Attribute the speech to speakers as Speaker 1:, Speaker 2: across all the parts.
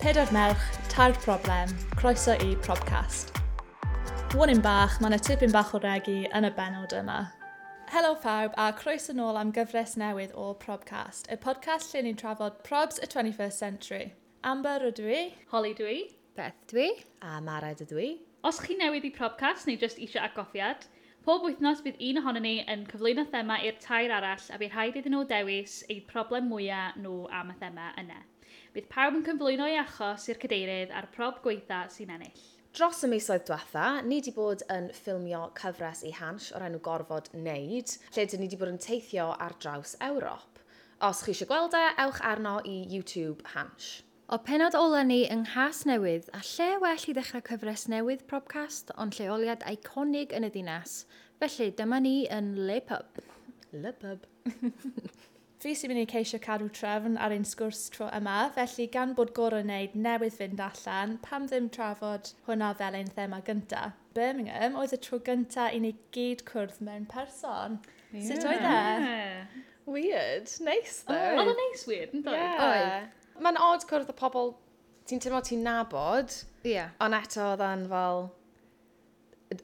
Speaker 1: Pedair merch, tair problem, croeso i Probcast. Wanyn bach, mae yna tipyn bach o regu yn y benod yma. Helo pawb a croeso nôl am gyfres newydd o Probcast, y podcast lle ni'n trafod probs y 21st century. Amber ydw i,
Speaker 2: Holly dwi.
Speaker 3: Beth dwi? A Mara ydw i.
Speaker 2: Os chi newydd i Probcast neu jyst eisiau agoffiad, pob wythnos bydd un ohono ni yn cyflwyno thema i'r tair arall a bydd rhaid iddyn nhw dewis eu problem mwyaf nhw am y thema yna. Bydd pawb yn cyflwyno ei achos i'r cadeirydd a'r prob gweitha sy'n ennill.
Speaker 3: Dros y misoedd diwetha, ni wedi bod yn ffilmio cyfres i Hansh o'r enw Gorfod Wneud, lle dyn ni wedi bod yn teithio ar draws Ewrop. Os chi eisiau gweld e, ewch arno i YouTube Hansh.
Speaker 4: O penod ola ni yng Nghas Newydd, a lle well i ddechrau cyfres newydd Probcast, ond lleoliad iconig yn y ddinas. Felly, dyma ni yn Le Pub.
Speaker 3: Lybub.
Speaker 1: Fi sy'n mynd i ceisio cadw trefn ar ein sgwrs tro yma, felly gan bod gorau wneud newydd fynd allan, pam ddim trafod hwnna fel ein thema gynta. Birmingham oedd y tro gynta i ni gyd cwrdd mewn person. Yeah. Sut oedd e?
Speaker 2: Ie.
Speaker 3: Weird. Nice,
Speaker 2: Oedd o'n neis wir, yn dod?
Speaker 3: Yeah. Mae'n odd cwrdd y pobl ti'n teimlo ti'n nabod,
Speaker 4: Ie. Yeah.
Speaker 3: ond eto oeddan fel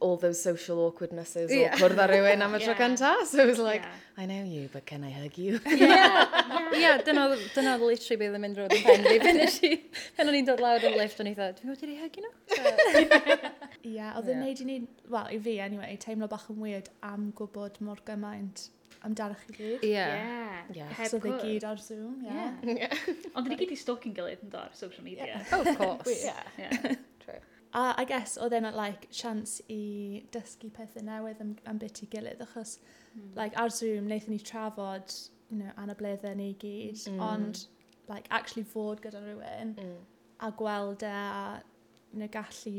Speaker 3: all those social awkwardnesses
Speaker 4: Ie.
Speaker 3: o cwrdd â rhywun am y tro
Speaker 2: Ie.
Speaker 3: cynta. So it was like,
Speaker 2: Ie.
Speaker 3: I know you, but can I hug you?
Speaker 4: Ie, yeah, dyna oedd- dyna oedd literally beth yn mynd roed yn pen fi. Pen nes i, pen o'n i'n dod lawr yn lift, o'n i dda, dwi'n gwybod i'r hegi nhw?
Speaker 1: Ie, yeah, oedd yn
Speaker 4: Ie.
Speaker 1: neud i ni, wel, i fi anyway, teimlo bach yn weird am gwybod mor gymaint amdanoch chi gyd.
Speaker 4: Ie.
Speaker 2: Ie.
Speaker 3: Ie.
Speaker 1: So oedd e gyd ar Zoom, ie. Yeah.
Speaker 2: Ie. Ond dyn ni gyd i stalking gilydd yn dod, social media.
Speaker 4: Oh, of course.
Speaker 3: Yeah.
Speaker 2: Ie.
Speaker 3: True.
Speaker 1: A I guess oedd e'n like, sians i dysgu pethau newydd am, am bit i gilydd, achos like, ar Zoom wnaethon ni trafod you know, anableddau ni i gyd, mm.
Speaker 3: Mm.
Speaker 1: ond like, actually fod gyda rhywun
Speaker 3: Mm.
Speaker 1: a gweld e a you know, gallu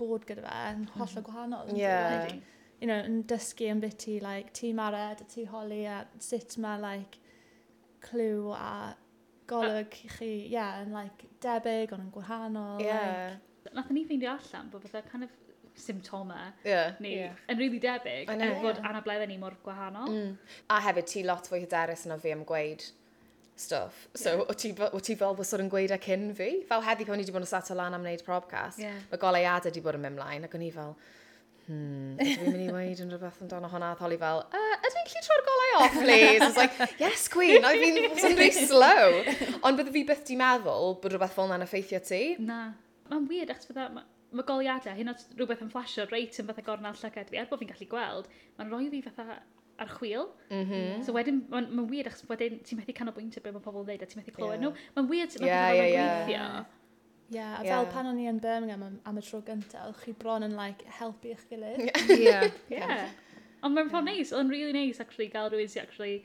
Speaker 1: bod gyda fe yn hollol gwahanol. yndi?
Speaker 3: Yeah.
Speaker 1: Like, you know, yn dysgu yn biti, like, ti mared, ti holi, a sut mae, like, clw a golwg i chi, yeah, yn, like, debyg, ond yn gwahanol.
Speaker 3: Yeah.
Speaker 2: Nath ni ffeindio allan bod fatha kind of symptoma
Speaker 3: Yeah.
Speaker 2: ni
Speaker 4: Ie.
Speaker 2: yn really debyg
Speaker 3: I
Speaker 2: er
Speaker 3: know.
Speaker 2: bod anableddau ni mor gwahanol.
Speaker 3: Mm. A hefyd, ti lot fwy hyderus na fi am gweud stuff. So, o ti, fe- o ti fel bysod yn gweud ac hyn fi? Fel heddi pan ni wedi bod yn sat o lan am wneud probcast,
Speaker 2: Ie.
Speaker 3: mae goleuadau wedi bod yn mynd mlaen, ac o'n i fel, hmm, dwi'n mynd i weid yn rhywbeth amdano hwnna, a tholi fel, uh, ydw i'n gallu troi'r golau off, please? I was like, yes, queen, I've been some really slow. Ond bydde fi byth di meddwl bod rhywbeth fel yna'n effeithio ti.
Speaker 2: Na. Mae'n weird achos fydda, mae goliadau, hyn oed rhywbeth yn flasio reit yn fatha gornel llygad fi, er bod fi'n gallu gweld, mae'n rhoi fi fatha ar chwil. Mm
Speaker 3: Mm-hmm.
Speaker 2: -hmm. So wedyn, mae'n ma weird achos wedyn ti'n methu canolbwyntio beth mae pobl yn dweud a ti'n methu clywed
Speaker 3: Ie.
Speaker 2: yeah. nhw. Mae'n weird sut mae
Speaker 3: Ie,
Speaker 2: yeah, yeah,
Speaker 3: ie,
Speaker 2: yeah.
Speaker 3: ie.
Speaker 2: gweithio.
Speaker 1: Yeah, a fel
Speaker 3: Yeah.
Speaker 1: pan o'n i yn Birmingham am, am y tro gyntaf, oedd chi bron yn, like, helpu eich gilydd.
Speaker 4: Ie.
Speaker 2: Mm-hmm. Yeah. Ond mae'n ffordd neis, oedd yn really neis actually gael rhywun sy'n actually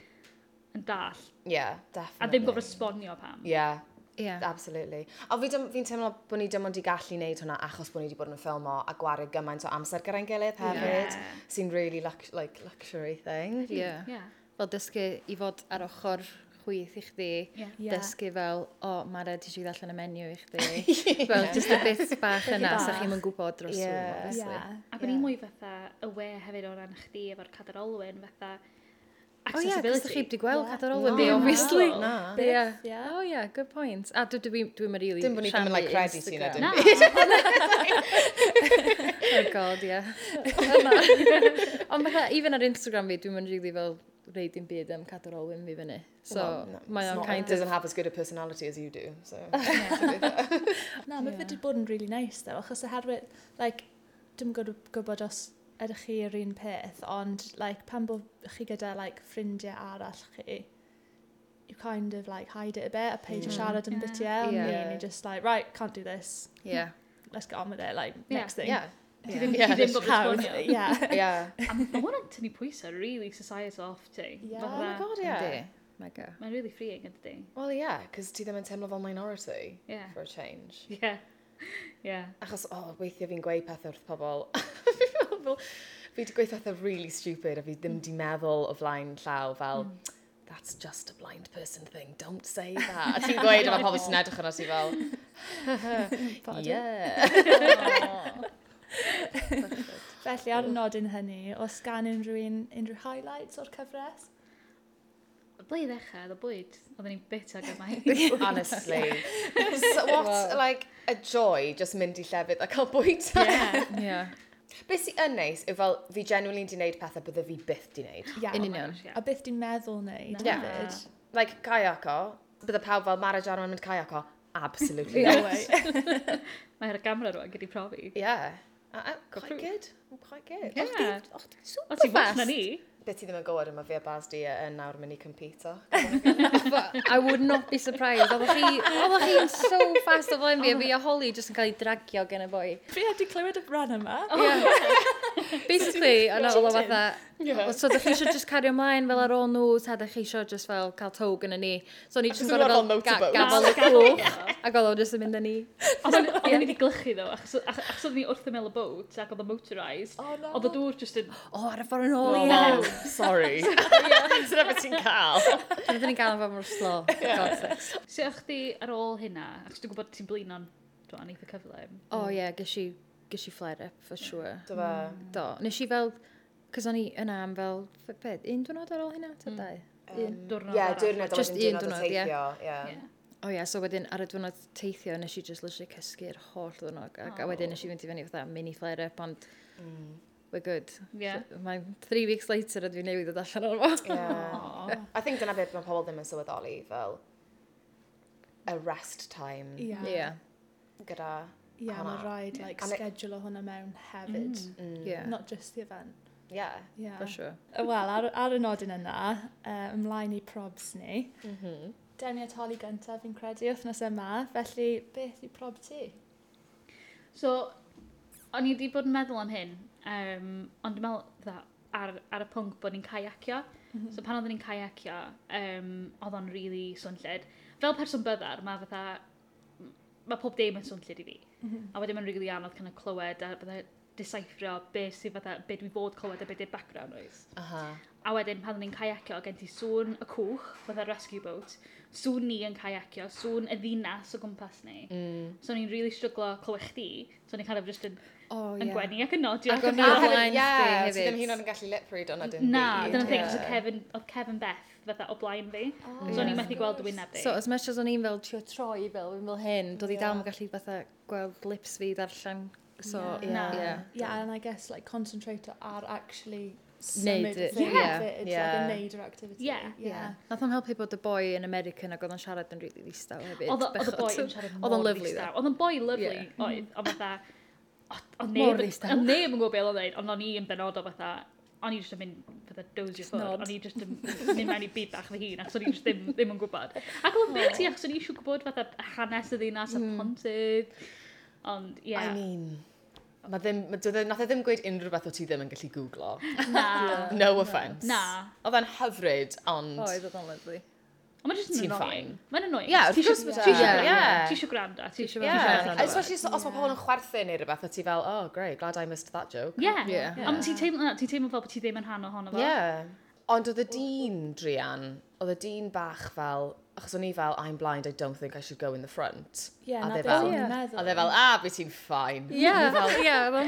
Speaker 2: yn dall.
Speaker 3: Yeah, definitely.
Speaker 2: A ddim gofod esbonio pam.
Speaker 3: Yeah,
Speaker 4: Ie.
Speaker 3: Absolutely. A fi dim- fi'n teimlo bod ni dim ond i gallu wneud hwnna achos bod ni wedi bod yn ffilmo a gwario gymaint o amser gyda'n gilydd hefyd.
Speaker 2: Ie.
Speaker 3: Yeah. Sy'n really lux like luxury thing.
Speaker 4: Ie.
Speaker 2: Yeah.
Speaker 4: Fel dysgu i fod ar ochr chwith i chdi.
Speaker 2: Yeah.
Speaker 1: Yeah.
Speaker 4: Dysgu fel, o, Mara, ti eisiau ddallan y menu i chdi. Fel, just y bit bach yna,
Speaker 1: bach.
Speaker 4: sa chi'n mynd gwybod dros
Speaker 3: Ie.
Speaker 4: Zoom, obviously.
Speaker 1: Yeah.
Speaker 2: Ac o'n i mwy fatha aware hefyd o ran chdi efo'r cadar olwyn fatha
Speaker 4: O ie, cos
Speaker 2: accessibility.
Speaker 4: ydych chi wedi gweld
Speaker 1: Ie.
Speaker 4: cadar olwyn fi,
Speaker 3: Na.
Speaker 4: obviously.
Speaker 2: Na.
Speaker 3: Na.
Speaker 1: Byth,
Speaker 4: Ie.
Speaker 1: ie.
Speaker 4: O ie, good point. A dwi dwi'n dwi dwi rili
Speaker 3: Dim bod ni ddim yn like credu ti na dim
Speaker 2: Na,
Speaker 3: byd.
Speaker 4: Oh god, ie. Ond fatha, even ar Instagram fi, dwi'n rili fel reid un byd am cadar olwyn fi fyny. So,
Speaker 3: Well, no,
Speaker 4: mae
Speaker 3: it's
Speaker 4: o'n
Speaker 3: not-
Speaker 4: kind of...
Speaker 3: doesn't have as good a personality as you do. So.
Speaker 1: Na, mae fe wedi bod yn really nice, though, achos oherwydd, like, dim gwyd- gwybod os ydych chi yr un peth, ond, like, pan bod chi gyda, like, ffrindiau arall chi, you kind of, like, hide it a bit, a peidio
Speaker 4: Mm.
Speaker 1: siarad yn
Speaker 2: Ie.
Speaker 1: bitiau,
Speaker 4: Ie.
Speaker 1: yeah. and you just, like, right, can't do this,
Speaker 4: Yeah.
Speaker 1: let's get on with it, like,
Speaker 2: Yeah.
Speaker 1: next thing.
Speaker 3: yeah.
Speaker 2: Ti ddim ti
Speaker 3: Yeah,
Speaker 2: ddim
Speaker 3: that's
Speaker 2: gofod
Speaker 1: Hawdd,
Speaker 2: esbonio.
Speaker 1: yeah.
Speaker 3: Yeah.
Speaker 2: A Mae hwnna'n tynnu pwysau really societal off ti.
Speaker 1: Yeah.
Speaker 2: Fatha,
Speaker 3: Oh my god, yeah.
Speaker 4: Yndi, Mega.
Speaker 2: Mae'n really freeing yn dydi.
Speaker 3: Well, yeah, because ti ddim yn teimlo fel minority
Speaker 2: Yeah.
Speaker 3: for a change.
Speaker 2: Yeah. Yeah.
Speaker 3: Achos, o, oh, weithio fi'n gweud pethau wrth pobl. Fi fel- fi wedi gweithio pethau really stupid a fi ddim di meddwl o flaen llaw fel,
Speaker 2: Hmm.
Speaker 3: that's just a blind person thing, don't say that. A ti'n gweud yma pobl sy'n edrych yna ti fel, yeah.
Speaker 1: Felly, ar y nodyn hynny, oes gan unrhyw un, unrhyw highlights o'r cyfres?
Speaker 2: ble i ddechrau, oedd y bwyd, oedden ni'n bita gymaint.
Speaker 3: Honestly. so what,
Speaker 4: Wow.
Speaker 3: like, a joy just mynd i llefydd a cael bwyd.
Speaker 2: Ie. Oh
Speaker 4: Yeah.
Speaker 3: Be sy'n yn neis yw fel, fi genuinely di wneud pethau bydde fi byth di wneud.
Speaker 1: Yeah.
Speaker 4: In
Speaker 2: my
Speaker 4: union.
Speaker 2: gosh, ie.
Speaker 1: A beth di'n meddwl wneud?
Speaker 2: Na.
Speaker 1: hefyd?
Speaker 3: Like, kayako, bydde pawb fel Mara Jarman yn mynd kayako. Absolutely
Speaker 1: No
Speaker 3: not.
Speaker 1: way.
Speaker 2: Mae'r gamra rwan gyda'i profi.
Speaker 3: Yeah. I- I'm
Speaker 2: Go
Speaker 3: quite
Speaker 2: through.
Speaker 3: good. I'm quite good.
Speaker 2: Yeah.
Speaker 4: Oh,
Speaker 3: Och, ti'n
Speaker 2: O ti'n
Speaker 3: super
Speaker 2: fach na
Speaker 3: fast.
Speaker 2: ni?
Speaker 3: Beth ti ddim yn gwybod yma fi a Baz di yn nawr yn mynd i compete.
Speaker 4: But I would not be surprised. Oedd chi, oedd chi'n so fast o flaen fi, a fi a Holly just yn cael ei dragio gen y boi.
Speaker 1: Fi wedi clywed y bran yma.
Speaker 4: Oh. Basically, yn ôl o fatha,
Speaker 2: Ie.
Speaker 4: so ydych chi eisiau just cario ymlaen fel ar ôl nhw, ta ydych chi eisiau just fel cael tog yn y ni. So ni just
Speaker 3: jyst
Speaker 4: yn
Speaker 3: yn
Speaker 4: gorau fel
Speaker 3: gorfod
Speaker 4: ga-
Speaker 3: motorboat.
Speaker 4: gafel y cwch, ac oedd o just yn mynd â ni.
Speaker 2: Ond oedden ni wedi glychu ddo, achos achos oedden ni wrth ymel y boat ac oedd o motorised.
Speaker 1: Oh, no.
Speaker 2: Oedd y dŵr just yn...
Speaker 4: O, ar y ffordd yn ôl,
Speaker 2: Oh,
Speaker 4: ie.
Speaker 2: wow.
Speaker 3: Sorry. Dyna beth ti'n cael.
Speaker 4: Rydyn ni'n gael yn fawr mor slo.
Speaker 2: Sio chdi ar ôl hynna, achos dwi'n gwybod ti'n blino'n dwi'n eitha cyflym.
Speaker 4: O ie, ges i, ges i flare up, for sure.
Speaker 3: Dyma.
Speaker 4: Do, nes i fel, cos o'n i yna am fel, f- be, un diwrnod ar ôl hynna, ta dau? Un.
Speaker 2: Diwrnod
Speaker 3: Ie,
Speaker 2: arall.
Speaker 3: diwrnod
Speaker 4: Just
Speaker 3: oedd yn diwrnod
Speaker 4: un
Speaker 3: o
Speaker 4: diwrnod, ie.
Speaker 3: teithio. ie.
Speaker 2: Ie.
Speaker 4: O ie, so wedyn ar y diwrnod teithio, nes i just literally cysgu'r holl ddwrnod, ac a wedyn nes i fynd i fyny fatha mini flare up, ond
Speaker 3: Mm.
Speaker 4: we're good.
Speaker 2: Ie.
Speaker 4: So, Mae three weeks later ydw i newid o allan o'r
Speaker 1: Oh.
Speaker 4: fo.
Speaker 3: Ie.
Speaker 2: O.
Speaker 3: I think dyna beth mae pobl ddim yn sylweddoli fel y rest time
Speaker 4: Ie,
Speaker 3: gyda...
Speaker 1: Ia,
Speaker 3: hwnna.
Speaker 1: mae rhaid like,
Speaker 3: And it-
Speaker 1: schedule o hwnna mewn hefyd.
Speaker 2: Mhm.
Speaker 3: mm,
Speaker 4: ie,
Speaker 1: Not just the event.
Speaker 3: Ie.
Speaker 1: Yeah.
Speaker 4: for sure.
Speaker 1: Wel, ar, ar y nodyn yna, uh, ymlaen i probs ni. Mm -hmm. Derniad holi gyntaf, fi'n credu, wythnos yma. Felly, beth i prob ti?
Speaker 2: So, o'n i wedi bod yn meddwl am hyn, um, ond dwi'n meddwl dda, ar, ar y pwnc bod ni'n kayacio. So pan oedden ni'n kayacio, um, oedd o'n really swnllid. Fel person byddar, mae fatha, mae pob dim yn swnllid i fi. A wedyn mae'n really anodd kind of clywed a bydda decifrio beth sydd fatha, beth dwi fod clywed a beth yw'r background noise.
Speaker 3: Aha.
Speaker 2: A wedyn pan ni'n kayacio, gen ti sŵn y cwch, fatha rescue boat, sŵn ni yn kayacio, sŵn y ddinas o gwmpas ni. Mm. So ni'n really stryglo clywed chdi, so ni'n kind of just yn,
Speaker 1: Oh,
Speaker 4: O
Speaker 2: yn gwenu ac yn nodio.
Speaker 4: Ac o'n
Speaker 3: A
Speaker 4: Ie,
Speaker 3: hefyd,
Speaker 4: flaen
Speaker 3: ie,
Speaker 4: chdi
Speaker 3: ti
Speaker 4: hefyd.
Speaker 3: ddim hyn o'n gallu lip read o'na dim
Speaker 2: Na, dyna thing,
Speaker 3: Ie.
Speaker 2: yeah. Kevin, oedd Kevin Beth fatha o blaen fi, oh, so
Speaker 4: Ie.
Speaker 2: yeah. ni'n methu gweld y wyneb fi.
Speaker 4: So, as much as o'n i'n fel trio troi fel, fi'n fel hyn, doedd i dal yn gallu fatha gweld lips fi darllen. So,
Speaker 1: Ie.
Speaker 4: ie,
Speaker 2: Na.
Speaker 4: ie.
Speaker 1: Yeah, and I guess, like, concentrate ar actually
Speaker 4: Neud
Speaker 1: symud y
Speaker 4: it,
Speaker 1: thing
Speaker 4: yeah,
Speaker 1: hefyd, like,
Speaker 3: yeah.
Speaker 1: yn neud yr activity.
Speaker 2: Yeah,
Speaker 1: yeah.
Speaker 4: Nath o'n helpu bod y boi yn American ac oedd o'n siarad yn rili ddistaw hefyd.
Speaker 2: Oedd o- oedd y boi
Speaker 4: bechod.
Speaker 2: yn siarad
Speaker 4: Oedd
Speaker 2: mor
Speaker 4: o'n lyfli dda.
Speaker 2: ddistaw. Oedd o'n boi lyfli,
Speaker 4: Ie.
Speaker 2: oedd, ond fatha, o- oedd
Speaker 4: Mor
Speaker 2: neb yn-
Speaker 4: ddistaw.
Speaker 2: oedd neb yn gwybod beth oedd o'n ond o'n i yn benod o fatha, o'n i jyst yn mynd fatha dozy
Speaker 4: Jyst
Speaker 2: ffwrdd,
Speaker 4: nod.
Speaker 2: o'n i jyst yn mynd mewn i byd bach fy hun, achos o'n i jyst ddim, ddim yn gwybod. Ac oedd o'n beth i, achos o'n i eisiau gwybod fatha hanes y ddinas, y pontydd, ond ie,
Speaker 3: I mean, mae ddim, ma doedd e- nath e ddim gweud unrhyw beth o ti ddim yn gallu googlo.
Speaker 2: na,
Speaker 3: No offence.
Speaker 2: na.
Speaker 3: Oedd e'n hyfryd, ond...
Speaker 4: Oedd oedd o'n lyfli.
Speaker 2: Ond mae'n jyst yn
Speaker 3: Ti'n
Speaker 2: annoying.
Speaker 3: fine.
Speaker 2: Mae'n annoying.
Speaker 3: Ie,
Speaker 2: Ti
Speaker 3: wrth
Speaker 2: isio-
Speaker 3: gwrs bod
Speaker 2: Ti
Speaker 3: e.
Speaker 2: eisiau
Speaker 3: Ie.
Speaker 2: gwrando, ti eisiau gwrando, ti eisiau
Speaker 3: Yeah,
Speaker 4: Yeah.
Speaker 3: especially os os mae pobl yn chwerthu neu rhywbeth, o ti fel, oh great, glad I missed that joke.
Speaker 2: Ie,
Speaker 4: Ie.
Speaker 2: ond ti'n teimlo, ti'n teimlo fel bod ti ddim yn rhan ohono fo.
Speaker 3: Yeah. Ond oedd y dyn, Drian, oedd y dyn bach fel, achos o'n i fel, I'm blind, I don't think I should go in the front.
Speaker 1: Yeah,
Speaker 3: a
Speaker 1: na
Speaker 3: they
Speaker 1: beth
Speaker 3: fel,
Speaker 1: o'n i'n
Speaker 4: Ie.
Speaker 1: meddwl.
Speaker 3: a they fel, ah, be ti'n fine.
Speaker 4: Ie, ie, oedd o'n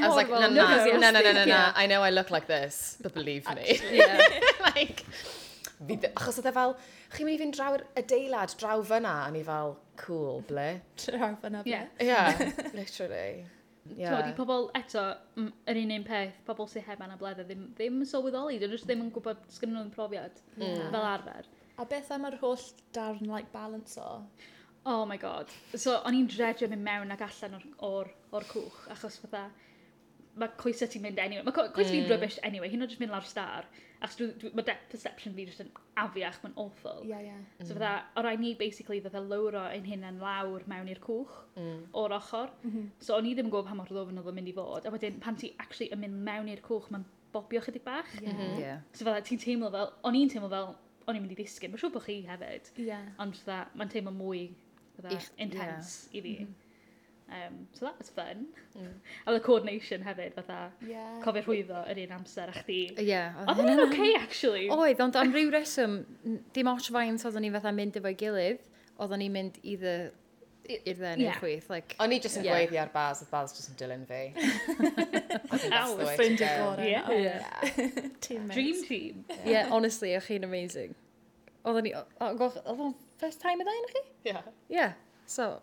Speaker 3: I was like,
Speaker 4: horrible.
Speaker 3: no, no, no,
Speaker 4: Nothing
Speaker 3: no, no, no, no,
Speaker 4: else.
Speaker 3: I know I look like this, but believe me.
Speaker 4: Ie.
Speaker 3: like, fi ddi- achos oedd e fel, chi'n mynd i fynd draw i'r adeilad, draw fyna, a ni fel, cool, ble?
Speaker 1: Rhaid fyna
Speaker 2: Ie.
Speaker 1: beth.
Speaker 3: Yeah, literally.
Speaker 2: Yeah. Di
Speaker 3: Yeah.
Speaker 2: pobl eto, m- yr un un peth, pobl sy'n heb anabledda ddim, ddim yn sylweddoli, dyn nhw jyst ddim yn gwybod sgyn nhw'n profiad mm. fel arfer.
Speaker 1: A beth am yr holl darn, like, balance o?
Speaker 2: Oh my god. So, o'n i'n dredio mynd mewn ac allan o'r, o'r, or cwch, achos fatha, mae coesau ti'n mynd anyway. Mae co- coesau mm. fi'n rubbish anyway, hyn o'n jyst mynd lawr star, achos dwi- dwi- mae depth perception fi jyst yn afiach, mae'n awful.
Speaker 1: Ie, ie.
Speaker 2: So
Speaker 3: Mm,
Speaker 2: fydda, o rai ni basically fydda lywro ein hunan lawr mewn i'r cwch mm. o'r ochor. Mm -hmm.
Speaker 1: Mm-hmm.
Speaker 2: So o'n i ddim yn gwybod pa mor ddofn oedd o'n mynd i fod. A wedyn pan ti actually yn mynd mewn i'r cwch, mae'n bobio chydig bach. Yeah.
Speaker 4: Ie.
Speaker 2: So fydda, ti'n teimlo fel, o'n i'n teimlo fel, o'n i'n mynd i ddisgyn. Mae'n siŵr bod chi hefyd.
Speaker 1: Ie.
Speaker 2: Ond fydda, mae'n teimlo mwy fydda,
Speaker 4: Ich-
Speaker 2: intense i fi.
Speaker 1: Mhm. Mm-hmm.
Speaker 2: Um, so that was fun.
Speaker 3: mm.
Speaker 2: A the coordination hefyd, fydda,
Speaker 1: Ie.
Speaker 2: cofio rhwyddo yr un amser a chdi.
Speaker 4: Ie,
Speaker 2: Oedd hwnna'n okay, actually.
Speaker 4: Oedd, ond am ryw reswm, n- dim ots faint oedden ni fatha mynd efo'i gilydd, oedden ni'n mynd either i'r dden
Speaker 2: Ie.
Speaker 4: i'r chwith. Like,
Speaker 3: O'n i just yn
Speaker 4: Ie.
Speaker 3: gweiddi ar Baz, oedd Baz just yn dilyn fi. I think that's
Speaker 2: Ow,
Speaker 3: the way to
Speaker 1: Ffrind i
Speaker 3: go.
Speaker 1: gorau. Oh,
Speaker 2: Ie.
Speaker 1: Teammates.
Speaker 2: Dream team.
Speaker 4: yeah, honestly, o'ch chi'n amazing. Oedden ni, o- o- goch- oedd o'n first time ydda un o chi?
Speaker 3: Yeah.
Speaker 4: Yeah, so,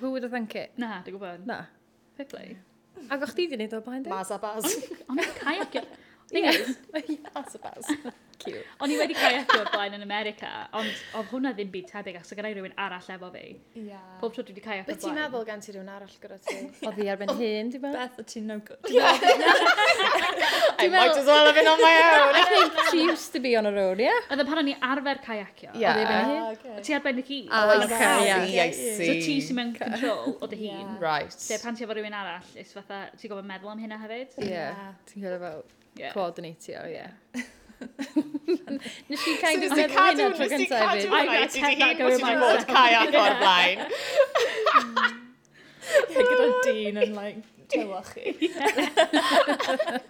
Speaker 4: who would have thunk it?
Speaker 2: Na, dwi'n gwybod.
Speaker 4: Na.
Speaker 2: Quickly.
Speaker 4: Ac o'ch ti di wneud o blaen di?
Speaker 3: Mazabaz.
Speaker 2: O'n i'n kayak. Thing is,
Speaker 3: Mazabaz.
Speaker 4: Cute.
Speaker 2: o'n i wedi kayak o'r blaen yn America, ond oedd hwnna ddim byd tebyg, ac so gyda i rhywun arall efo fi.
Speaker 1: Yeah.
Speaker 2: Pob tro dwi wedi kayak o'r
Speaker 3: Beth ti'n
Speaker 2: blaen.
Speaker 3: meddwl gan ti rhywun arall gyda ti?
Speaker 4: Oedd hi arbenn hyn, di ba?
Speaker 1: Beth, wyt ti'n no good?
Speaker 3: I might as well have been on my
Speaker 4: I think she used to be on her own, yeah?
Speaker 2: Oedd y pan o'n i arfer kayacio.
Speaker 3: own. Yeah.
Speaker 1: Ah, okay.
Speaker 2: Ti arbennig Oh, i.
Speaker 4: Ah,
Speaker 2: Like,
Speaker 1: okay,
Speaker 3: I
Speaker 1: yeah.
Speaker 3: see, I
Speaker 2: So ti
Speaker 3: see.
Speaker 2: sy'n mewn control o dy hun. Se
Speaker 3: Right.
Speaker 2: pan ti efo rhywun arall, is fatha, ti'n gofyn meddwl am hynna hefyd?
Speaker 4: Yeah. Ti'n gwybod about
Speaker 2: Yeah.
Speaker 4: coordinatio, yeah. Nes i kind
Speaker 3: Nes
Speaker 4: of
Speaker 3: ti
Speaker 4: meddwl hynna tro
Speaker 3: nes ti
Speaker 4: gyntaf
Speaker 3: cadw
Speaker 4: hefyd.
Speaker 2: I- I
Speaker 3: hwnna i ti dy
Speaker 2: kept that
Speaker 3: hun bod
Speaker 2: going
Speaker 3: ti 'di
Speaker 2: myself.
Speaker 3: bod kayak o'r blaen.
Speaker 1: Yeah, gyda dyn yn, like, tylwch chi.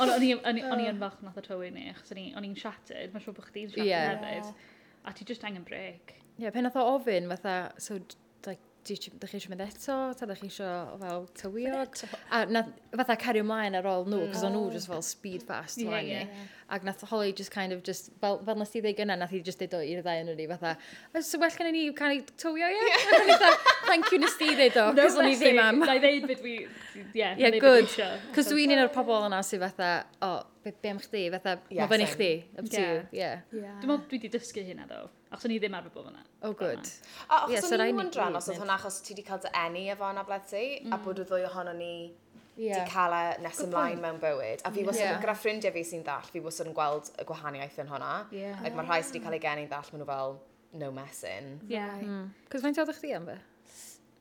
Speaker 2: Ond o'n i- o'n i o'n i yn falch nath o tywyn ni, achos o'n i- o'n i'n shattered, mae'n siŵr bod chdi'n shattered
Speaker 4: Yeah.
Speaker 2: hefyd. A ti just angen break.
Speaker 4: Yeah, pen oedd o ofyn, fatha, so, d- like, di- da chi eisiau mynd eto, ta da chi eisiau fel tywio. A na, fatha cario ymlaen ar ôl nhw, cos o'n nhw just fel speed fast
Speaker 2: Ie,
Speaker 4: ymlaen
Speaker 2: ie.
Speaker 4: ni. Ac nath Holly just kind of just, fel, fel nes i ddeud gynna, nath i just deud o i'r ddau yn ni, fatha, "Oes so well gen i ni cael ei tywio, ie? Yeah. Ac o'n i fatha, thank you nes ti ddeud o, cos o'n i
Speaker 2: messing.
Speaker 4: ddim am.
Speaker 2: Na i ddeud beth fi... Yeah,
Speaker 4: Ie,
Speaker 2: yeah
Speaker 4: good.
Speaker 2: good.
Speaker 4: Cos dwi'n un o'r pobol yna sydd fatha, o, be, be am chdi, fatha,
Speaker 3: Yeah,
Speaker 4: yeah, mae fyny
Speaker 3: same.
Speaker 4: chdi, up to
Speaker 2: Yeah.
Speaker 4: you, yeah.
Speaker 2: Dwi'n meddwl dwi wedi dysgu hynna, ddo. Achos o'n i ddim arfer bod fyna.
Speaker 4: Oh, good.
Speaker 3: A
Speaker 4: Ie,
Speaker 3: achos
Speaker 4: so
Speaker 3: o'n
Speaker 4: rai
Speaker 3: i'n
Speaker 4: ni
Speaker 3: wondran
Speaker 4: gyd
Speaker 3: os oedd
Speaker 4: mynd.
Speaker 3: hwnna achos ti wedi cael dy eni efo yna bled ti, a bod y ddwy ohono ni wedi
Speaker 4: Yeah.
Speaker 3: cael e nes ymlaen mewn bywyd. A fi wastad
Speaker 4: Ie.
Speaker 3: yn gyda ffrindiau fi sy'n ddall, fi wastad yn gweld y gwahaniaeth yn hwnna.
Speaker 2: Ie.
Speaker 3: Like, mae rhai sydd wedi cael ei geni'n ddall, maen nhw fel, no messing.
Speaker 2: Yeah.
Speaker 4: Cos mae'n tawd chdi am fe?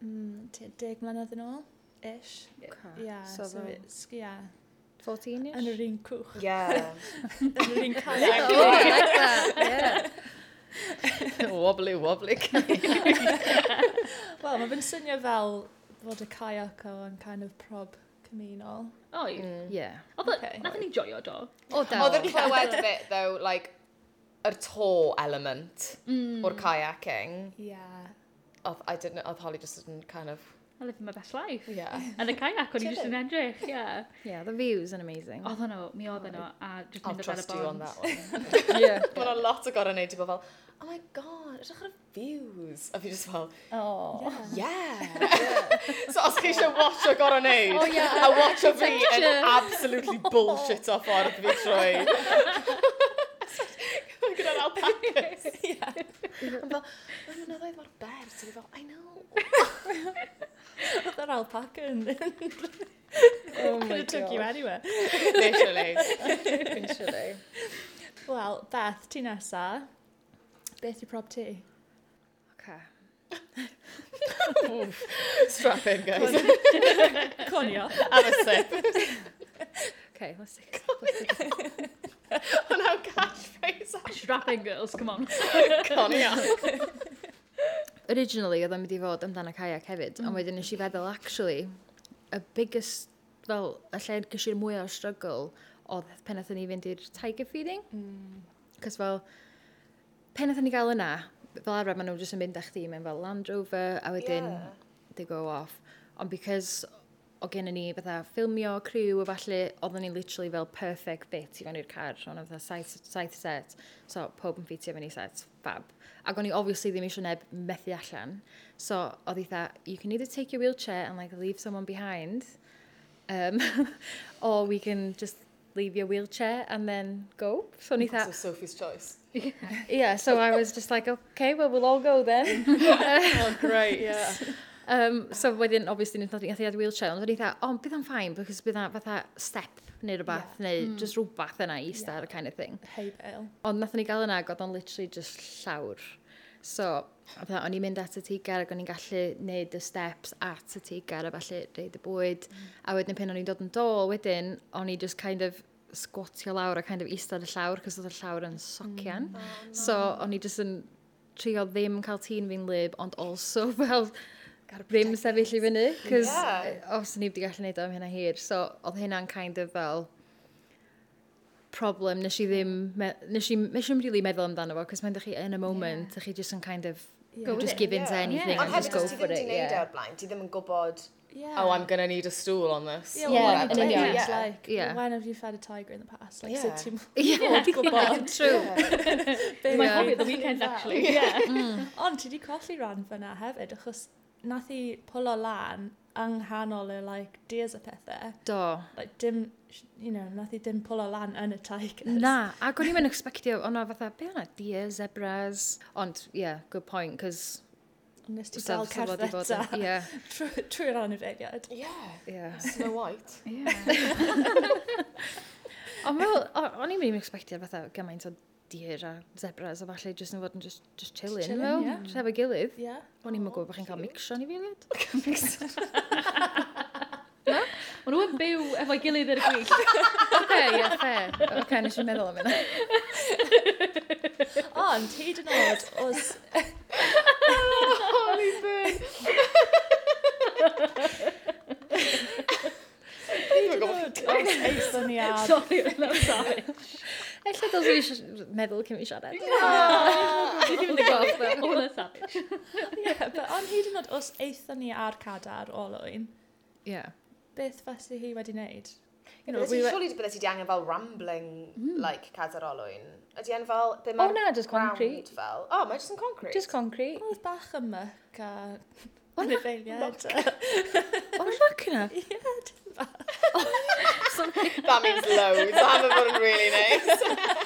Speaker 1: Mm, tua deg mlynedd yn ôl, ish. Yeah, so,
Speaker 4: So
Speaker 1: so
Speaker 4: fel-
Speaker 1: it's, yeah,
Speaker 4: 14-ish?
Speaker 1: yn yr un cwch,
Speaker 3: Yeah.
Speaker 1: yn yr un cael.
Speaker 4: Oh, I like that, yeah.
Speaker 3: wobbly, wobbly.
Speaker 1: Wel, mae fe'n swnio fel fod y kayak o yn kind of prob cymunol.
Speaker 2: Oi.
Speaker 4: Yeah.
Speaker 2: Oedd o-
Speaker 1: Okay.
Speaker 2: Nathon ni joio, do.
Speaker 4: O, da.
Speaker 3: Oedd yn clywed a bit, though, like, yr to element
Speaker 2: Mm.
Speaker 3: o'r kayaking.
Speaker 1: Yeah.
Speaker 3: Oedd, I didn't, oedd Holly just yn kind of,
Speaker 2: I live my best life.
Speaker 3: yeah.
Speaker 2: Yn y kayak, o'n i jyst yn edrych, yeah.
Speaker 4: Yeah, the views yn amazing.
Speaker 2: Oedd hwnnw, mi oedd hwnnw, a just
Speaker 3: I'll
Speaker 2: mynd o fel y
Speaker 3: trust you on that
Speaker 2: bont.
Speaker 3: one.
Speaker 4: yeah.
Speaker 3: Mae yna lot o gorau neud i bobl, oh my god, ydych ar y views. A fi just fel,
Speaker 4: Oh.
Speaker 3: yeah. so os chi eisiau watch o gorau neud,
Speaker 4: Oh, yeah.
Speaker 3: a watch o fi yn
Speaker 4: Picture.
Speaker 3: absolutely bullshit o ffordd fi trwy. Mae gyda'r alpacas. Yn fel, "Ma' nhw'n meddwl mor bert. A fi fel, I know.
Speaker 1: Oedd yr alpaca yn...
Speaker 4: Oh
Speaker 1: Could have took you anywhere.
Speaker 3: Literally.
Speaker 4: Literally.
Speaker 1: Wel, Beth, ti nesa. Beth yw prob ti?
Speaker 4: Okay.
Speaker 3: Strap in, guys.
Speaker 1: Conio.
Speaker 3: Have a sip.
Speaker 4: Okay, let's see.
Speaker 3: Hwna'n catchphrase.
Speaker 2: Strapping girls, come on.
Speaker 3: Conio.
Speaker 4: Originally, oedd o'n mynd i fod amdano kayak hefyd, ond wedyn nes i feddwl, actually, y biggest, fel, y lle gysi'r mwy o'r struggle, oedd pen athyn ni fynd i'r tiger feeding. Cos fel, pen athyn ni gael yna, fel arfer maen nhw jyst yn mynd â chdi mewn fel Land Rover, a wedyn
Speaker 3: Ie.
Speaker 4: they go off. Ond because o gen ni fatha ffilmio, criw a falle, oedden ni literally fel perfect fit i fewn i'r car. Ond oedd fatha saith, saith set, so pob yn ffitio fewn i set, fab. Ac o'n i obviously ddim eisiau neb methu allan. So oedd eitha, you can either take your wheelchair and like leave someone behind, um, or we can just leave your wheelchair and then go. So o'n i eitha,
Speaker 3: So Sophie's choice.
Speaker 4: yeah, so I was just like, okay, well, we'll all go then.
Speaker 3: Oh, great, yeah.
Speaker 4: Um, so wedyn, obviously, nes nad i adeiad wheelchair, ond o'n i dda, o, bydd o'n ffain, because bydd o'n fatha step neu rhywbeth, yeah. neu mm. just rhywbeth yna i star, yeah. kind of thing.
Speaker 1: Hey, Bill.
Speaker 4: Ond nath ni gael yna, godd o'n literally just llawr. So, a fatha, o'n i'n mynd at y tigar ac o'n i'n gallu neud y steps at y tigar a falle reid y bwyd. Mm. A wedyn pen o'n i'n dod yn dôl wedyn, o'n i just kind of sgwatio lawr a kind of eistedd y llawr, cos oedd y llawr yn socian. Mm. Oh, no. So, o'n i just yn trio ddim cael tîn fi'n lyb, ond also fel ddim sefyll i fyny, cos
Speaker 3: Ie.
Speaker 4: yeah. os ni wedi gallu neud o am hynna hir. So, oedd hynna'n kind of fel problem nes i ddim, me- nes i, nes i'm really meddwl amdano fo, cos mae'n dych chi in a moment, yeah. chi just yn kind of,
Speaker 1: Yeah.
Speaker 4: yeah. just give in to
Speaker 3: Yeah.
Speaker 4: anything
Speaker 2: Yeah.
Speaker 4: and
Speaker 3: Ond
Speaker 4: just
Speaker 3: hefyd,
Speaker 4: go
Speaker 3: os ti
Speaker 4: for
Speaker 3: ddim wedi
Speaker 4: it,
Speaker 3: neud e
Speaker 4: yeah.
Speaker 3: o'r blaen, ti ddim yn gwybod
Speaker 1: yeah.
Speaker 3: oh, I'm going to need a stool on this.
Speaker 1: Yeah,
Speaker 3: or
Speaker 1: well, yeah,
Speaker 4: an
Speaker 1: when
Speaker 3: whatever.
Speaker 1: you've played,
Speaker 4: union.
Speaker 1: it's
Speaker 3: Yeah.
Speaker 1: like,
Speaker 4: Yeah.
Speaker 1: when have you fed a tiger in the past? Like,
Speaker 3: Yeah.
Speaker 1: since you...
Speaker 4: Yeah,
Speaker 1: gwybod.
Speaker 4: true.
Speaker 2: It's my
Speaker 4: Yeah.
Speaker 2: hobby at the weekend, actually. Yeah.
Speaker 4: Mm,
Speaker 1: Ond ti di colli ran fyna hefyd, achos nath i pwlo lan yng nghanol y, like, dears a pethau.
Speaker 4: Do.
Speaker 1: Like, dim, you know, nath i dim pwlo lan yn y tigers.
Speaker 4: Na, ac o'n i'm yn expectio, o'n o fatha, be o'na, deer, zebras. Ond, yeah, good point, cos...
Speaker 1: Ond Nes ti gael cerdd eto
Speaker 4: Yeah,
Speaker 1: trwy'r anifeiliad.
Speaker 3: Yeah.
Speaker 4: yeah.
Speaker 3: Snow White.
Speaker 4: Yeah. Ond fel, o- o'n i'm yn expectio fatha gymaint o deer a zebras a falle jyst yn fod yn just, just chilling,
Speaker 1: chilling,
Speaker 4: fel,
Speaker 1: yeah.
Speaker 4: tref y gilydd.
Speaker 1: Yeah.
Speaker 4: O'n i'm yn gwybod bod chi'n cael mixio ni filiad.
Speaker 2: Maen nhw'n byw efo'i gilydd yn y gwyll.
Speaker 4: Oce, yeah, fair. Oce, nes i'n meddwl am yna.
Speaker 1: Ond, hyd yn oed, os...
Speaker 3: Holy burn.
Speaker 1: Hyd yn oed, os eithon ni ar...
Speaker 2: Sorry, no, sorry.
Speaker 4: Ella dylse fi sh- meddwl cyn fi siarad.
Speaker 2: Dwi ddim yn gwybod. O'n y savage.
Speaker 1: Yeah, but ond hyd yn oed, os eithon ni ar cadar olwyn,
Speaker 4: Yeah.
Speaker 1: beth fysa hi wedi wneud? You know,
Speaker 3: Bydde
Speaker 1: we
Speaker 3: ti-
Speaker 1: were...
Speaker 3: Surely bydde ti di angen fel rambling,
Speaker 4: Mm.
Speaker 3: like, cadar olwyn. Ydi angen fel... be
Speaker 4: O
Speaker 3: ma'r
Speaker 4: na, just
Speaker 3: ground
Speaker 4: Oh, concrete.
Speaker 3: Fel. O, mae jyst yn concrete.
Speaker 4: Just concrete.
Speaker 1: Oedd bach yma ca... Anifeiliad.
Speaker 4: O'n i'n bac yna.
Speaker 1: Ie, dim bach.
Speaker 3: That means loads. That haven't been really nice.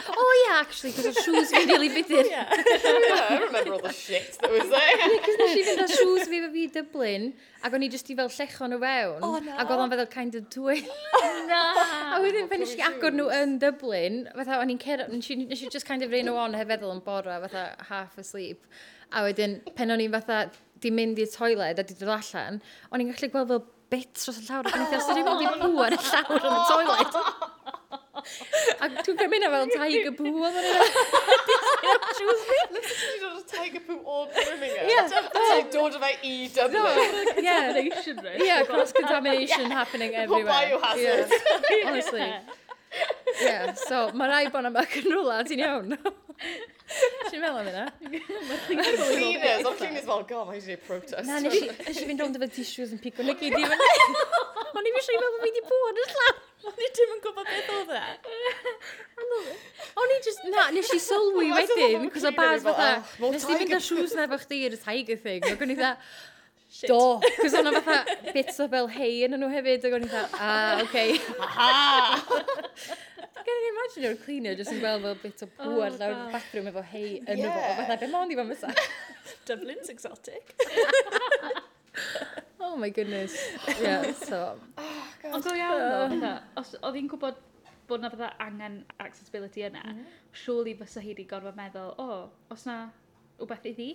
Speaker 4: Oh yeah, actually, cos o'r shoes fi'n really bitter.
Speaker 1: Ie.
Speaker 3: yeah, I remember all the shit that was there.
Speaker 4: Cos nes i fynd â shoes fi efo fi i Dublin, ac o'n i jyst i fel llechon o fewn,
Speaker 1: O, na.
Speaker 4: ac oedd o'n feddwl kind of dwyll.
Speaker 2: Na.
Speaker 4: A wedyn pen nes i
Speaker 3: Proper
Speaker 4: agor nhw
Speaker 3: shoes.
Speaker 4: yn Dublin, fatha o'n i'n cerdd, nes i nes i just kind of rain o on hefyd yn bora, fatha half asleep. A wedyn, pen o'n i'n fatha, di mynd i'r toiled a di dod allan, o'n i'n gallu gweld fel bit dros y llawr ac o'n i'n gallu ddim wedi bŵ ar y llawr yn y toiled. A dwi'n gymryd fel tiger bŵ oedd o'n i'n
Speaker 3: Ti'n dod o tiger poo o Birmingham. Yeah. Ti'n dod o fe i Dublin.
Speaker 4: edrych. "Oh, Yeah,
Speaker 2: Nation risk.
Speaker 4: yeah, cross-contamination happening
Speaker 3: Pob
Speaker 4: everywhere.
Speaker 3: biohazard.
Speaker 4: Yeah, honestly. Yeah, so mae rai bod yma cynrwla, ti'n iawn. Ti'n meddwl am yna?
Speaker 3: Cleaners. Ond cleaners fel, god, mae eisiau protest.
Speaker 4: Na, nes i fynd rownd efo tissues yn pigo na gyd i fyny. O'n i fi eisiau fel bod fi wedi bod yn llawn.
Speaker 1: O'n i ddim yn gwybod beth oedd e.
Speaker 4: O'n i just, na, nes i sylwi
Speaker 3: Why is the woman
Speaker 4: wedyn, cos o
Speaker 3: cleaner
Speaker 4: bas
Speaker 3: yn fel,
Speaker 4: fatha,
Speaker 3: "Ugh, well,
Speaker 4: nes i fynd
Speaker 3: tiger
Speaker 4: â shoes na efo chdi i'r tiger thing, ac o'n i dda, do, cos o'n i fatha bits o fel hei yn nhw hefyd, ac o'n i dda, ah, okay.
Speaker 3: Ha!
Speaker 4: Can you imagine o'r cleaner jyst yn gweld fel bit o bŵr
Speaker 2: Oh,
Speaker 4: oh, lawr
Speaker 2: God.
Speaker 4: y bathroom efo hei yn nhw,
Speaker 3: Yeah.
Speaker 4: fatha, beth ma'n di fan fysa?
Speaker 1: Dublin's exotic.
Speaker 4: Oh my goodness. Yeah, so,
Speaker 2: Ond go iawn ddo, os oedd hi'n gwybod bod na fydda angen accessibility yna, surely fysa hi wedi gorfod meddwl, o, oh, os na wbeth iddi?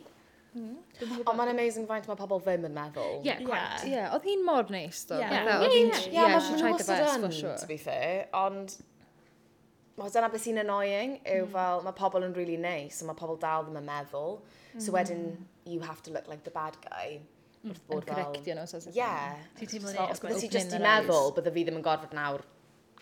Speaker 1: Hmm,
Speaker 2: Dwi'm yn gwbod.
Speaker 3: Ond mae'n amazing faint mae pobl ddim yn meddwl.
Speaker 2: Ie,
Speaker 1: Yeah.
Speaker 2: quite.
Speaker 4: yeah, oedd hi'n mor neis, do.
Speaker 1: Yeah.
Speaker 4: Fatha,
Speaker 2: Yeah,
Speaker 4: oedd hi'n-
Speaker 2: yeah,
Speaker 4: she-
Speaker 3: Yeah,
Speaker 4: Yeah,
Speaker 3: yeah
Speaker 4: she tried the best, for sure.
Speaker 3: to be fair, ond mae dyna beth sy'n annoying yw fel mae pobl yn really nice, a mae pobl dal ddim yn meddwl. So wedyn, you have to look like the bad guy. Wrth
Speaker 4: Yn
Speaker 3: bod fel...
Speaker 4: correctio nhw, so. so-
Speaker 3: Yeah.
Speaker 2: Ti'n teimlo
Speaker 3: So,
Speaker 2: ni
Speaker 3: os bydde ti
Speaker 4: opening
Speaker 3: just i
Speaker 4: their
Speaker 3: meddwl,
Speaker 4: eyes.
Speaker 3: bydde fi ddim yn gorfod nawr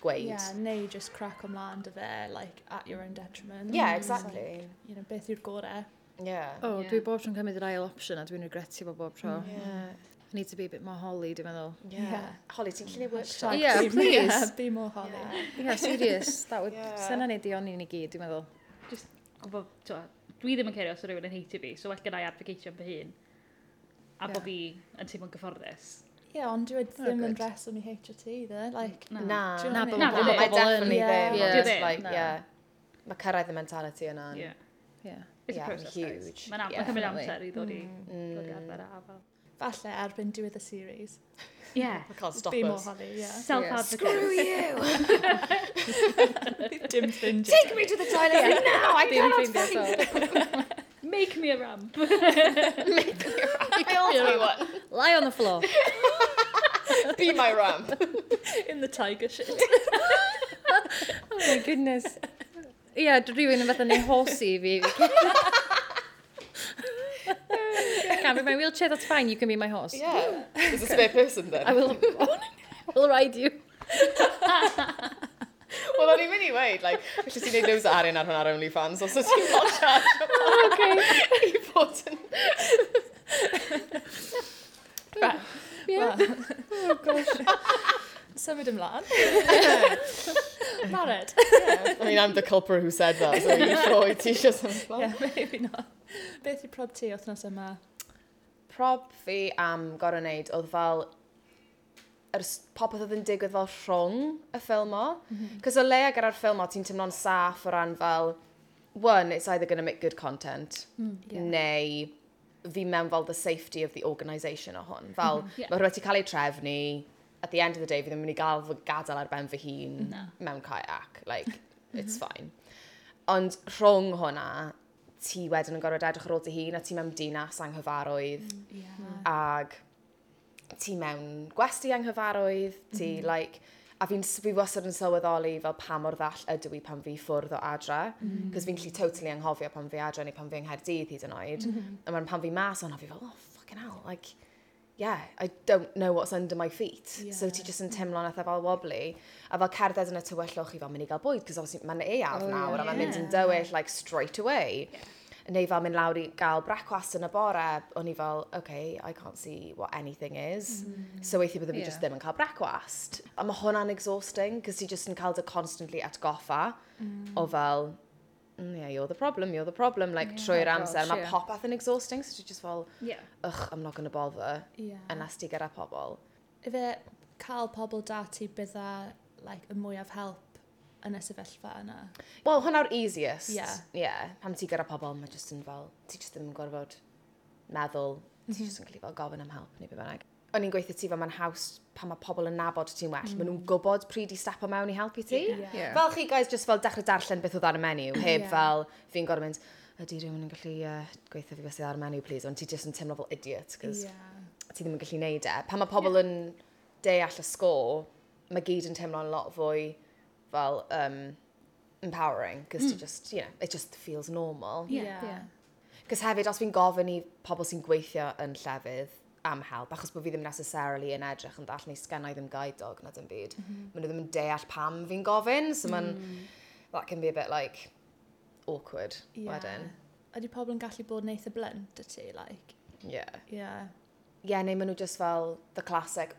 Speaker 3: gweud.
Speaker 1: Yeah, neu just crack ymlaen dy fe, like, at your own detriment.
Speaker 3: Yeah,
Speaker 1: It's like,
Speaker 3: exactly.
Speaker 1: you know, beth yw'r gorau.
Speaker 3: Yeah.
Speaker 4: O,
Speaker 2: Yeah.
Speaker 4: dwi bob tro'n cymryd yr ail option a dwi'n regretio fo bob tro.
Speaker 3: Yeah.
Speaker 4: I need to be a bit more holly, dwi'n meddwl.
Speaker 3: Yeah.
Speaker 1: Yeah. Oh,
Speaker 3: Holly, ti'n llunio
Speaker 1: So,
Speaker 3: workshop?
Speaker 4: Yeah,
Speaker 1: be-
Speaker 4: please.
Speaker 1: yeah, Be more holly.
Speaker 3: Yeah.
Speaker 4: Yeah, serious. That would,
Speaker 3: Yeah.
Speaker 4: yeah. Sena ni di o'n i ni gyd, dwi'n meddwl.
Speaker 2: Just gwybod, t'wo, dwi ddim yn cerio os yw rhywun yn heitio fi, so well gyda i advocateio am fy hun. A bod fi yn teimlo'n gyfforddus.
Speaker 1: Yeah, ond dwi'n ddim yn
Speaker 4: good.
Speaker 1: reswm i HRT, either. Like,
Speaker 2: Na.
Speaker 3: Na.
Speaker 1: Do you
Speaker 4: Na,
Speaker 1: know
Speaker 4: bo-
Speaker 1: what
Speaker 2: na,
Speaker 1: I mean?
Speaker 3: Na,
Speaker 2: bo-
Speaker 3: mae
Speaker 4: Pobl yn-
Speaker 3: definitely
Speaker 1: Yeah.
Speaker 3: ddim.
Speaker 4: Yeah.
Speaker 3: Just
Speaker 2: Dyw
Speaker 3: like,
Speaker 4: ddim.
Speaker 3: yeah. Mae cyrraedd y mentality yna. yn-
Speaker 2: Yeah.
Speaker 4: Yeah.
Speaker 2: It's
Speaker 3: Yeah,
Speaker 2: a process,
Speaker 3: huge. Mm.
Speaker 2: guys. Mae'n
Speaker 4: Yeah,
Speaker 2: yeah, cymryd
Speaker 4: definitely.
Speaker 2: amser i ddod i ddod i arfer a afel.
Speaker 1: Falle erbyn diwedd y series.
Speaker 2: Yeah.
Speaker 3: I can't stop
Speaker 1: Be more
Speaker 3: us.
Speaker 1: holly, yeah.
Speaker 2: Self-advocate.
Speaker 3: you!
Speaker 1: Dim ffrindiau.
Speaker 3: Take me to the toilet now! Oh, I
Speaker 4: Dim
Speaker 3: cannot
Speaker 4: ffeindio so.
Speaker 2: Make me a ramp.
Speaker 3: I'll tell you what.
Speaker 4: Lie on the floor.
Speaker 3: Be my ramp.
Speaker 1: In the tiger shit.
Speaker 4: Oh my goodness. Ie, yeah, rhywun yn fath yn ei hosi i fi. Can't be my wheelchair, that's fine, you can be my horse.
Speaker 3: Yeah. There's a spare person then.
Speaker 4: I will, will ride you.
Speaker 3: Wel, o'n i'n mynd i weid, like, felly ti'n neud news arin ar hwn ar OnlyFans, os oes ti'n not charge i
Speaker 4: Okay.
Speaker 3: fod yn...
Speaker 1: Yeah. Well, Oh, symud ymlaen. Married.
Speaker 3: I mean, I'm the culprit who said that, so you sure ti eisiau symud
Speaker 1: Yeah, maybe not. Beth i prob ti othnos yma?
Speaker 3: Prob fi am gorau wneud oedd fel yr s- popeth oedd yn digwydd fel rhwng y ffilm o. Cos o leia gyda'r ffilm o, ti'n teimlo'n saff o ran fel, one, it's either going to make good content,
Speaker 1: ie.
Speaker 3: neu fi mewn fel the safety of the organisation o hwn. Fel, mm -hmm.
Speaker 2: ie.
Speaker 3: yeah. mae rhywbeth i cael ei trefnu, at the end of the day, fi ddim yn mynd i gael fy gadael ar ben fy hun
Speaker 2: Na.
Speaker 3: mewn kayak. Like, it's fine. Ond rhwng hwnna, ti wedyn yn gorfod edrych ar ôl dy hun a ti mewn dinas anghyfarwydd
Speaker 2: Yeah.
Speaker 3: ag ti mewn gwesti anghyfarwydd, ti mm -hmm. like, a fi'n s- fi wastad yn sylweddoli fel pa mor ddall ydw i pan fi ffwrdd o adre,
Speaker 1: Mm.
Speaker 3: cos fi'n gallu totally anghofio pan fi adre neu pan fi yng Nghaerdydd hyd yn oed, mm -hmm. a ma'n pan fi mas o'n fi fel, oh, fucking hell, like, yeah, I don't know what's under my feet. Yeah. So ti jyst yn teimlo'n eitha fel wobbly. A fel cerdded yn y tywyllwch i fel mynd i gael bwyd, cos obviously mae'n eaf oh, nawr, yeah. a mae'n mynd yn dywyll, like, straight away. Yeah. Neu fel mynd lawr i gael brecwast yn y bore, o'n i fel, okay, I can't see what anything is. Mm. So weithi byddai fi
Speaker 4: Ie.
Speaker 3: yeah. just ddim yn cael brecwast. A mae hwnna'n exhausting, cos ti jyst yn cael dy constantly atgoffa mm. o fel, mm, yeah, you're the problem, you're the problem, like, yeah, trwy'r
Speaker 4: Oh,
Speaker 3: amser.
Speaker 4: gosh,
Speaker 3: Mae
Speaker 4: ie.
Speaker 3: popeth yn exhausting, so ti just fel,
Speaker 2: Yeah.
Speaker 3: ych, I'm not going to bother
Speaker 1: Ie.
Speaker 3: yna sti gyda pobl.
Speaker 1: Ife cael pobl dati bydda like, y mwyaf help yn y sefyllfa yna.
Speaker 3: Wel, hwnna'r easiest.
Speaker 1: Ie.
Speaker 3: Yeah. Pam ti gyda pobl, mae jyst yn fel, ti jyst ddim yn gorfod meddwl, ti jyst yn cael fel gofyn am help neu beth bynnag. O'n i'n gweithio ti fel mae'n haws pan mae pobl yn nabod ti'n well. Mm. Maen nhw'n gwybod pryd i step o mewn i helpu ti.
Speaker 1: Ie.
Speaker 4: Ie.
Speaker 3: Fel chi guys just fel dechrau darllen beth oedd ar y menu, heb
Speaker 1: Ie.
Speaker 3: yeah. fel fi'n gorfod mynd, ydy rhywun yn gallu uh, gweithio fi beth sydd ar y menu, please, ond ti jyst yn teimlo fel idiot, cos
Speaker 1: Ie.
Speaker 3: ti ddim yn gallu neud e. Pan mae pobl yeah. yn deall y sgôr, mae gyd yn teimlo'n lot fwy fel um, empowering, because mm. just, you know, it just feels normal.
Speaker 2: Ie.
Speaker 1: Ie.
Speaker 3: Cos hefyd, os fi'n gofyn i pobl sy'n gweithio yn llefydd am help, achos bod fi ddim necessarily yn edrych yn dall neu sgennau ddim guide dog na dim byd, mm -hmm. maen nhw ddim yn deall pam fi'n gofyn, so ma'n, mm. that can be a bit like awkward
Speaker 1: Ie.
Speaker 3: yeah. wedyn.
Speaker 1: Ydy pobl yn gallu bod neitha blunt y ti, like?
Speaker 3: Yeah.
Speaker 1: Yeah.
Speaker 3: yeah, neu maen nhw just fel the classic,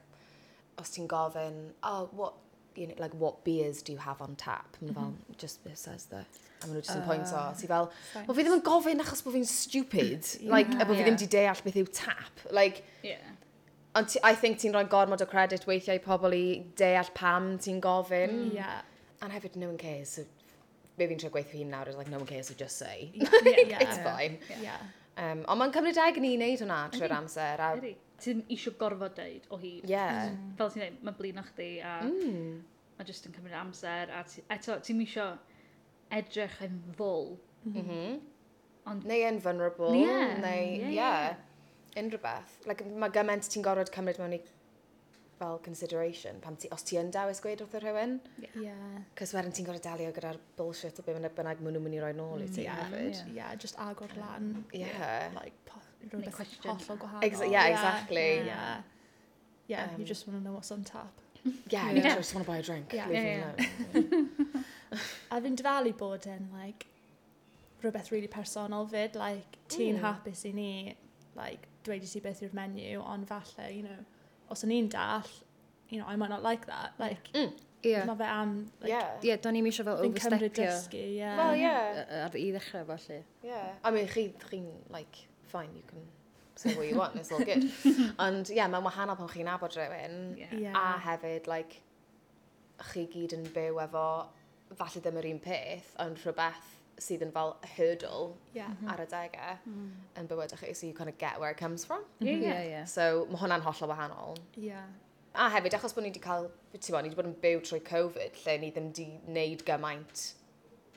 Speaker 3: os ti'n gofyn, oh, what, you know, like, what beers do you have on tap? Maen nhw fel, just beer says there. A maen nhw just yn pwynt o. Ti fel, well, fi ddim yn gofyn achos bod fi'n stupid. Like, a bod fi
Speaker 4: Ie.
Speaker 3: ddim di deall beth yw tap. Like,
Speaker 2: Yeah.
Speaker 3: ond ti- I think ti'n rhoi gormod o credit weithiau i pobl i deall pam ti'n gofyn.
Speaker 1: Mm. Yeah.
Speaker 3: And hefyd, no one cares. So, be fi'n trio gweithio hi'n nawr is like, no one cares, so just say.
Speaker 2: Yeah.
Speaker 3: It's fine.
Speaker 1: Yeah.
Speaker 3: Um, ond mae'n cymryd deg ni i wneud hwnna trwy'r
Speaker 2: Ydi.
Speaker 3: amser. A,
Speaker 2: Ydi. Ti'n isio gorfod deud o hyd.
Speaker 3: yeah.
Speaker 2: Fel ti'n dweud, mae'n blin chdi a mm. mae jyst yn cymryd amser a ti, eto, ti'n isio edrych yn fwl.
Speaker 3: Mm-hmm. neu yn vulnerable,
Speaker 2: Ie,
Speaker 3: neu,
Speaker 2: ie,
Speaker 3: ie,
Speaker 2: ie,
Speaker 3: yeah, unrhyw beth. Like, mae gymaint ti'n gorfod cymryd mewn i fel consideration, pan ti, os ti yn dewis gweud wrth y rhywun,
Speaker 1: Yeah.
Speaker 3: cys wedyn ti'n gorfod delio gyda'r bullshit o be mae'n bynnag maen nhw'n mynd i roi nôl i ti
Speaker 1: Ie.
Speaker 3: hefyd.
Speaker 4: Ie.
Speaker 1: Yeah, just agor lan.
Speaker 3: Yeah.
Speaker 1: Like, po- rhywbeth
Speaker 2: question.
Speaker 1: hollol gwahanol.
Speaker 3: Ex- oh, yeah, exactly.
Speaker 1: Yeah. Yeah, yeah you
Speaker 3: Um,
Speaker 1: just want to know what's on tap.
Speaker 3: Yeah,
Speaker 2: Yeah.
Speaker 3: I just want to buy a drink.
Speaker 1: Yeah.
Speaker 3: leave
Speaker 2: Yeah,
Speaker 3: me alone.
Speaker 1: A fi'n dyfalu bod yn, like, rhywbeth really personol fyd, like, ti'n
Speaker 3: Mm.
Speaker 1: hapus i ni, like, dweud i ti beth yw'r menu, ond falle, you know, os o'n i'n dall, you know, I might not like that. Like,
Speaker 4: Ie.
Speaker 1: yeah. mae fe am, like, yeah.
Speaker 3: Yeah.
Speaker 4: Ie, do'n i'm eisiau fel
Speaker 1: fi'n cymryd
Speaker 4: overstepio
Speaker 1: dysgu, yeah.
Speaker 3: Well,
Speaker 4: yy,
Speaker 3: yeah,
Speaker 4: ar i ddechrau felly.
Speaker 3: yeah. I mean, chi, chi'n, like, fine, you can say what you want, it's all good. Ond, yeah, mae'n wahanol pan chi'n abod rhywun,
Speaker 1: yeah.
Speaker 3: A hefyd, like, chi gyd yn byw efo, falle ddim yr un peth, ond rhywbeth sydd yn fel hurdle
Speaker 1: yeah.
Speaker 3: ar y degau yn bywyd chi, so you kind of get where it comes from.
Speaker 2: Ie,
Speaker 4: Ie,
Speaker 2: ie.
Speaker 4: ie.
Speaker 3: So, mae hwnna'n hollol wahanol.
Speaker 1: Mm-hmm. Yeah.
Speaker 3: A hefyd, achos bod ni wedi cael, ti'n bod, ni wedi bod yn byw trwy Covid, lle ni ddim wedi wneud gymaint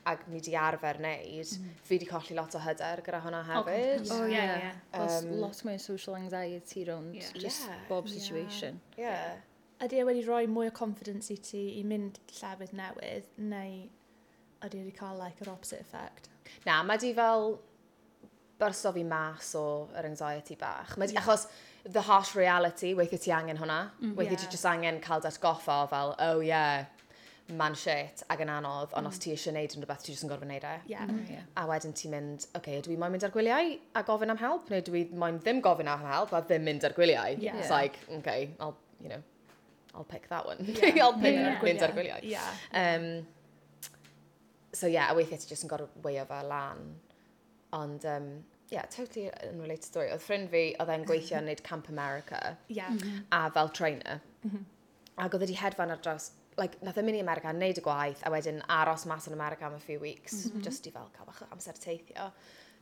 Speaker 3: ac ni wedi arfer wneud, mm. fi wedi colli lot o hyder gyda hwnna
Speaker 2: Oh,
Speaker 3: hefyd.
Speaker 2: completely.
Speaker 4: O,
Speaker 2: Ie,
Speaker 4: ie.
Speaker 2: ie.
Speaker 4: There's
Speaker 3: Um,
Speaker 4: lot mwy o social anxiety rownd
Speaker 2: Ie.
Speaker 4: just
Speaker 3: Ie.
Speaker 4: bob
Speaker 1: Ie.
Speaker 4: situation.
Speaker 3: yeah.
Speaker 1: Ydy e wedi rhoi mwy o confidence i ti i mynd llefydd newydd, neu ydy e wedi cael, like, yr opposite effect?
Speaker 3: Na, mae di fel byrso fi mas o yr anxiety bach. Mae di, yeah. achos the harsh reality, weithio ti angen hwnna. Mm, weithio
Speaker 1: Ie.
Speaker 3: ti just angen cael datgoffa o fel, oh yeah, man shit ag yn anodd, ond mm. os ti eisiau gwneud yn rhywbeth, ti jyst yn gorfod gwneud e.
Speaker 1: Yeah.
Speaker 4: Yeah.
Speaker 3: A wedyn ti'n mynd, oce, okay, ydw i moyn mynd ar gwyliau a gofyn am help, neu dwi moyn ddim gofyn am help a ddim mynd ar gwyliau.
Speaker 1: Yeah.
Speaker 3: It's
Speaker 4: Yeah.
Speaker 3: like, okay, I'll, you know, I'll pick that one.
Speaker 1: Yeah.
Speaker 3: I'll pick
Speaker 2: Yeah.
Speaker 3: mynd ar gwyliau.
Speaker 1: Yeah.
Speaker 3: Um, so yeah, a weithiau ti jyst yn gorfod weio fe lan. Ond, um, yeah, totally yn related story. Oedd ffrind fi, oedd e'n gweithio yn neud Camp America
Speaker 1: Yeah.
Speaker 2: mm.
Speaker 3: a fel trainer. Ac oedd wedi hedfan ar draws, like, nath e mynd i America, neud y gwaith, a wedyn aros mas yn America am a few weeks, just i fel cael bach o amser teithio.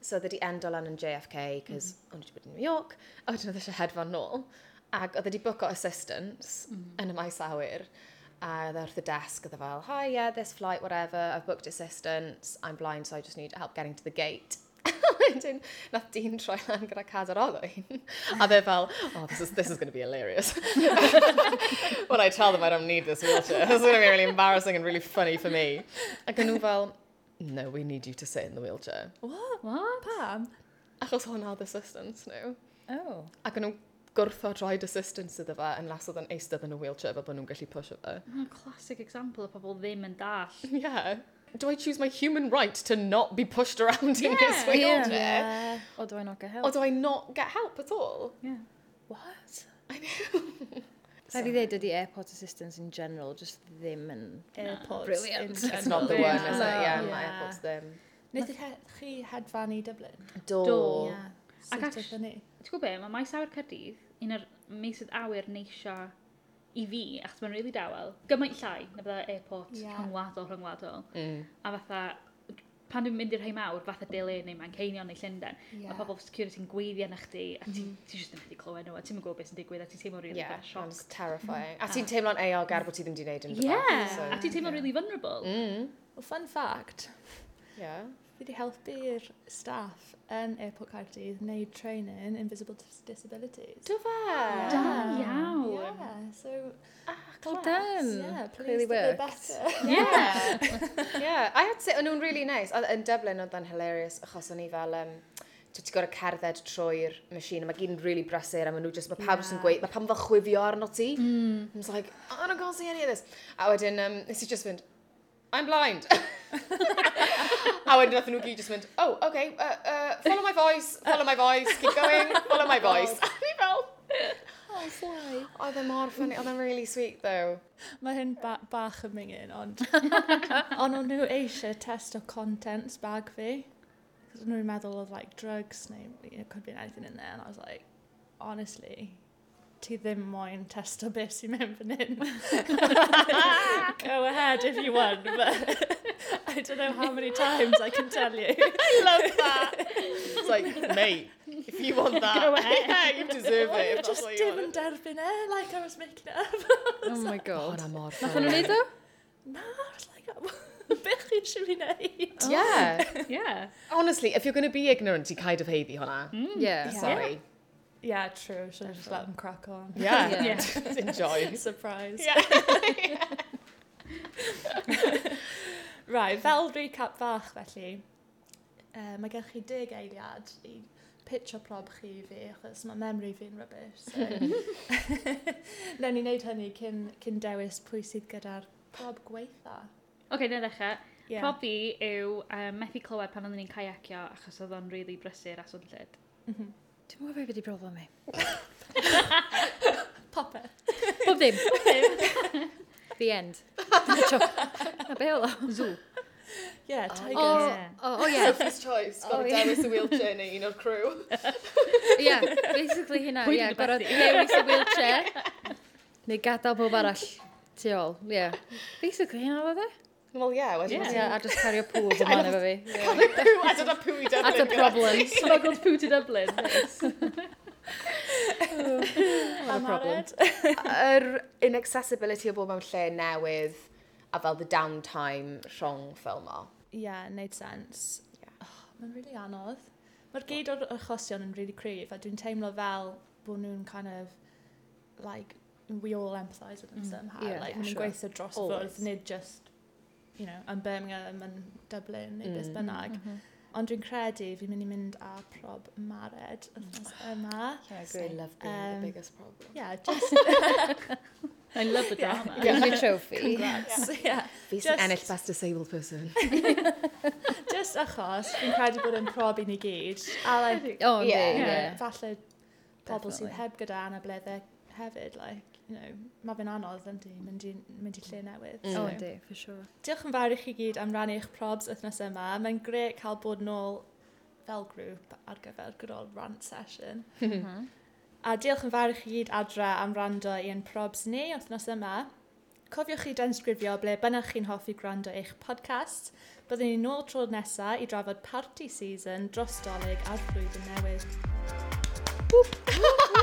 Speaker 3: So oedd wedi endo lan yn JFK, cos o'n i wedi bod yn New York, a wedyn oedd eisiau hedfan nôl. Ac oedd e wedi bwco assistance yn y maes awyr. A oedd e wrth the desk, oedd e fel, hi, yeah, this flight, whatever, I've booked assistance, I'm blind, so I just need help getting to the gate. Wedyn, nath dyn troi lan gyda cadar olwyn. A dde fel, oh, this is, this is going to be hilarious. when I tell them I don't need this wheelchair. It's going to be really embarrassing and really funny for me. Ac yn nhw fel, no, we need you to sit in the wheelchair.
Speaker 1: What?
Speaker 2: What?
Speaker 1: Pam?
Speaker 3: Achos hwn oedd assistance nhw.
Speaker 4: Oh.
Speaker 3: Ac yn nhw gwrthod rhaid assistance iddo fe yn las oedd yn eistedd yn y wheelchair fel bod nhw'n gallu pwysio fe.
Speaker 2: A classic example of pobl ddim yn dall.
Speaker 3: Yeah. Do I choose my human right to not be pushed around in this
Speaker 2: Yeah.
Speaker 3: wheelchair?
Speaker 4: O, do I not get help?
Speaker 3: Or do I not get help at all?
Speaker 2: Yeah.
Speaker 4: What? I know. Rhaid i ddweud ydi airport assistance in general just ddim yn...
Speaker 1: Airports. in
Speaker 4: Brilliant. It's
Speaker 3: It's not the
Speaker 1: general.
Speaker 3: one,
Speaker 2: Yeah.
Speaker 3: is it?
Speaker 1: No,
Speaker 3: Yeah, my
Speaker 1: yeah.
Speaker 3: airport's them.
Speaker 1: Wnaeth chi- chi hedfan i Dublin?
Speaker 3: Do.
Speaker 2: Do.
Speaker 1: Yeah.
Speaker 2: Ac
Speaker 1: Sort of
Speaker 2: actu-
Speaker 1: funny.
Speaker 2: Ti'n gwybod be, mae maes awyr Cardydd, un o'r meisydd awyr neisio i fi, achos mae'n rili really dawel, gymaint llai na fydda airport
Speaker 1: Ie.
Speaker 2: yeah. rhyngwladol rhyngwladol.
Speaker 3: Mm.
Speaker 2: A fatha, pan dwi'n mynd i'r rhai mawr, fatha Dili neu Manceinion neu Llundain, yeah.
Speaker 1: Ie.
Speaker 2: mae pobl security'n gweiddi yna chdi, a ti, ti jyst yn medru clywed nhw, a ti'n gwybod beth sy'n digwydd, a ti'n teimlo rili
Speaker 3: Mm-hmm. Yeah,
Speaker 2: yeah.
Speaker 3: and
Speaker 2: sioc.
Speaker 3: it's terrifying. A ti'n teimlo'n eog ar bod ti ddim wedi gwneud yn
Speaker 2: Ie, yeah. a ti'n teimlo rili really vulnerable.
Speaker 3: Mm.
Speaker 1: Well, fun fact,
Speaker 3: Yeah.
Speaker 1: fi wedi helpu'r staff yn Airport Cardydd wneud training in visible dis- disabilities.
Speaker 3: Do fe?
Speaker 2: Da
Speaker 1: Yeah.
Speaker 2: iawn.
Speaker 1: Yeah, so
Speaker 4: Well
Speaker 1: class.
Speaker 4: done.
Speaker 1: Yeah,
Speaker 4: Clearly
Speaker 1: pleased that they're
Speaker 4: worked.
Speaker 1: better.
Speaker 2: Yeah.
Speaker 3: Yeah, I had to, o'n nhw'n really nice. Oedd yn Dublin oedd yn hilarious, achos o'n i fel, um, dwi ti gorau cerdded trwy'r machine, a mae gyd yn really brysur, a maen nhw just, mae pawb just yn
Speaker 1: Yeah.
Speaker 3: gweud, mae pam fel chwifio arno ti. Mm. I was like, I don't can't see any of this. A wedyn, um, nes i just fynd, I'm blind. a wedyn nath nhw gyd just mynd, oh, okay, uh, uh, follow my voice, follow my voice, keep going, follow Oh my voice. A ni fel,
Speaker 1: Oh, fly.
Speaker 3: oedd e mor ffynnu, oedd e'n really sweet though.
Speaker 1: Mae hyn ba bach yn mingin, ond... ond o'n nhw eisiau test o contents bag fi. Cos o'n nhw'n meddwl oedd, like, drugs neu, you know, could be anything in there. And I was like, honestly, ti ddim moyn test o beth sy'n mewn fan hyn. Go ahead if you want, but I don't know how many times I can tell you.
Speaker 3: I love that. It's like, mate, if you want that,
Speaker 2: Go ahead.
Speaker 3: yeah, you deserve
Speaker 1: O'n
Speaker 3: it.
Speaker 1: i
Speaker 3: If that's
Speaker 1: just
Speaker 3: what you
Speaker 1: dim
Speaker 3: want.
Speaker 1: yn derbyn e, like I was making it up.
Speaker 4: Oh my god.
Speaker 3: mor
Speaker 4: Nath nhw'n neud o?
Speaker 1: Na, I was like, beth chi eisiau fi wneud?
Speaker 3: Yeah.
Speaker 2: yeah. Mm.
Speaker 3: Honestly, if you're going to be ignorant, you kind of hate the honna.
Speaker 4: Oh. Yeah.
Speaker 1: Yeah.
Speaker 3: Sorry.
Speaker 1: Yeah, true. Should I just let them crack on?
Speaker 3: Yeah.
Speaker 4: Yeah.
Speaker 3: Just enjoy.
Speaker 1: Surprise.
Speaker 3: Yeah.
Speaker 1: Right, fel recap fach felly, uh, mae gennych chi deg eiliad i pitch o prob chi i fi, achos mae memory fi'n rybys. So. Newn ni wneud hynny cyn, cyn dewis pwy sydd gyda'r prob gweitha.
Speaker 2: Oce, okay, na ddechrau.
Speaker 1: Ie.
Speaker 2: Yeah. Prob fi yw um, methu clywed pan oeddwn i'n caiacio achos oedd o'n rili really brysur a swnllid.
Speaker 1: Mhm.
Speaker 4: Dwi'n mwyn fe beth i broblem i.
Speaker 1: Pop it.
Speaker 4: Bob dim. The end. Na be o? Zoo.
Speaker 1: Yeah, tigers.
Speaker 4: O,
Speaker 1: Oh.
Speaker 2: Yeah.
Speaker 4: o, o, ie.
Speaker 3: choice.
Speaker 4: got Oh, to yeah. dewis
Speaker 3: y wheelchair neu un o'r crew.
Speaker 4: Ie, basically hynna.
Speaker 2: Pwy
Speaker 4: Ie,
Speaker 2: dwi'n
Speaker 4: gorfod dewis y wheelchair. Neu gadael pob arall tu ôl. Ie. Basically hynna oedd e.
Speaker 3: Wel, ie, wedyn.
Speaker 2: Yeah.
Speaker 4: Ie, a just cario pŵl dyma efo fi. Ie.
Speaker 3: Pw, a dyna pw i
Speaker 4: That's a
Speaker 3: Dublin.
Speaker 4: problem.
Speaker 2: Smuggled poo to Dublin. Nice.
Speaker 4: What a problem.
Speaker 3: Yr inaccessibility o bob mewn lle newydd a fel the downtime rhwng ffilm o.
Speaker 1: Yeah, neud sense.
Speaker 3: Yeah.
Speaker 1: Oh, Mae'n rili really anodd. Mae'r gyd o'r achosion yn rili really cryf, a dwi'n teimlo fel bod nhw'n kind of, like, we all empathise with them
Speaker 2: Mm,
Speaker 1: somehow.
Speaker 4: yeah,
Speaker 1: like,
Speaker 4: yeah,
Speaker 1: yeah,
Speaker 4: sure.
Speaker 1: sure. gweithio dros y
Speaker 3: Always.
Speaker 1: bwrdd, nid just, you know, yn Birmingham, yn Dublin, neu beth
Speaker 3: Mm.
Speaker 1: bynnag. Ond dwi'n credu fi'n mynd i mynd â prob mared wythnos yma.
Speaker 3: Yeah,
Speaker 4: I
Speaker 3: love being
Speaker 1: Um,
Speaker 3: the biggest problem.
Speaker 1: Yeah, just...
Speaker 2: I love the drama.
Speaker 4: Win the trophy.
Speaker 1: Congrats. Yeah.
Speaker 3: Fi
Speaker 1: Just-
Speaker 3: sy'n ennill best disabled person.
Speaker 1: Just achos, fi'n credu bod yn prob i ni gyd. A like,
Speaker 4: Oh, yndi,
Speaker 3: Yeah.
Speaker 1: yeah.
Speaker 4: ie.
Speaker 1: falle pobl sy'n
Speaker 4: Definitely.
Speaker 1: heb gyda anabledde hefyd, like, you know, mae fe'n anodd yn di, mynd i, mynd i lle newydd.
Speaker 4: Oh,
Speaker 1: So,
Speaker 4: yndi, for sure.
Speaker 1: Diolch yn fawr i chi gyd am rannu eich probs wythnos yma. Mae'n gret cael bod nôl fel grŵp ar gyfer good old rant session.
Speaker 4: Mhm.
Speaker 1: a diolch yn fawr i chi gyd adra am rando i'n probs ni wythnos yma. Cofiwch chi densgrifio ble bynnag chi'n hoffi gwrando eich podcast. Byddwn ni'n nôl tro nesaf i drafod party season dros dolyg ar flwyddyn newydd.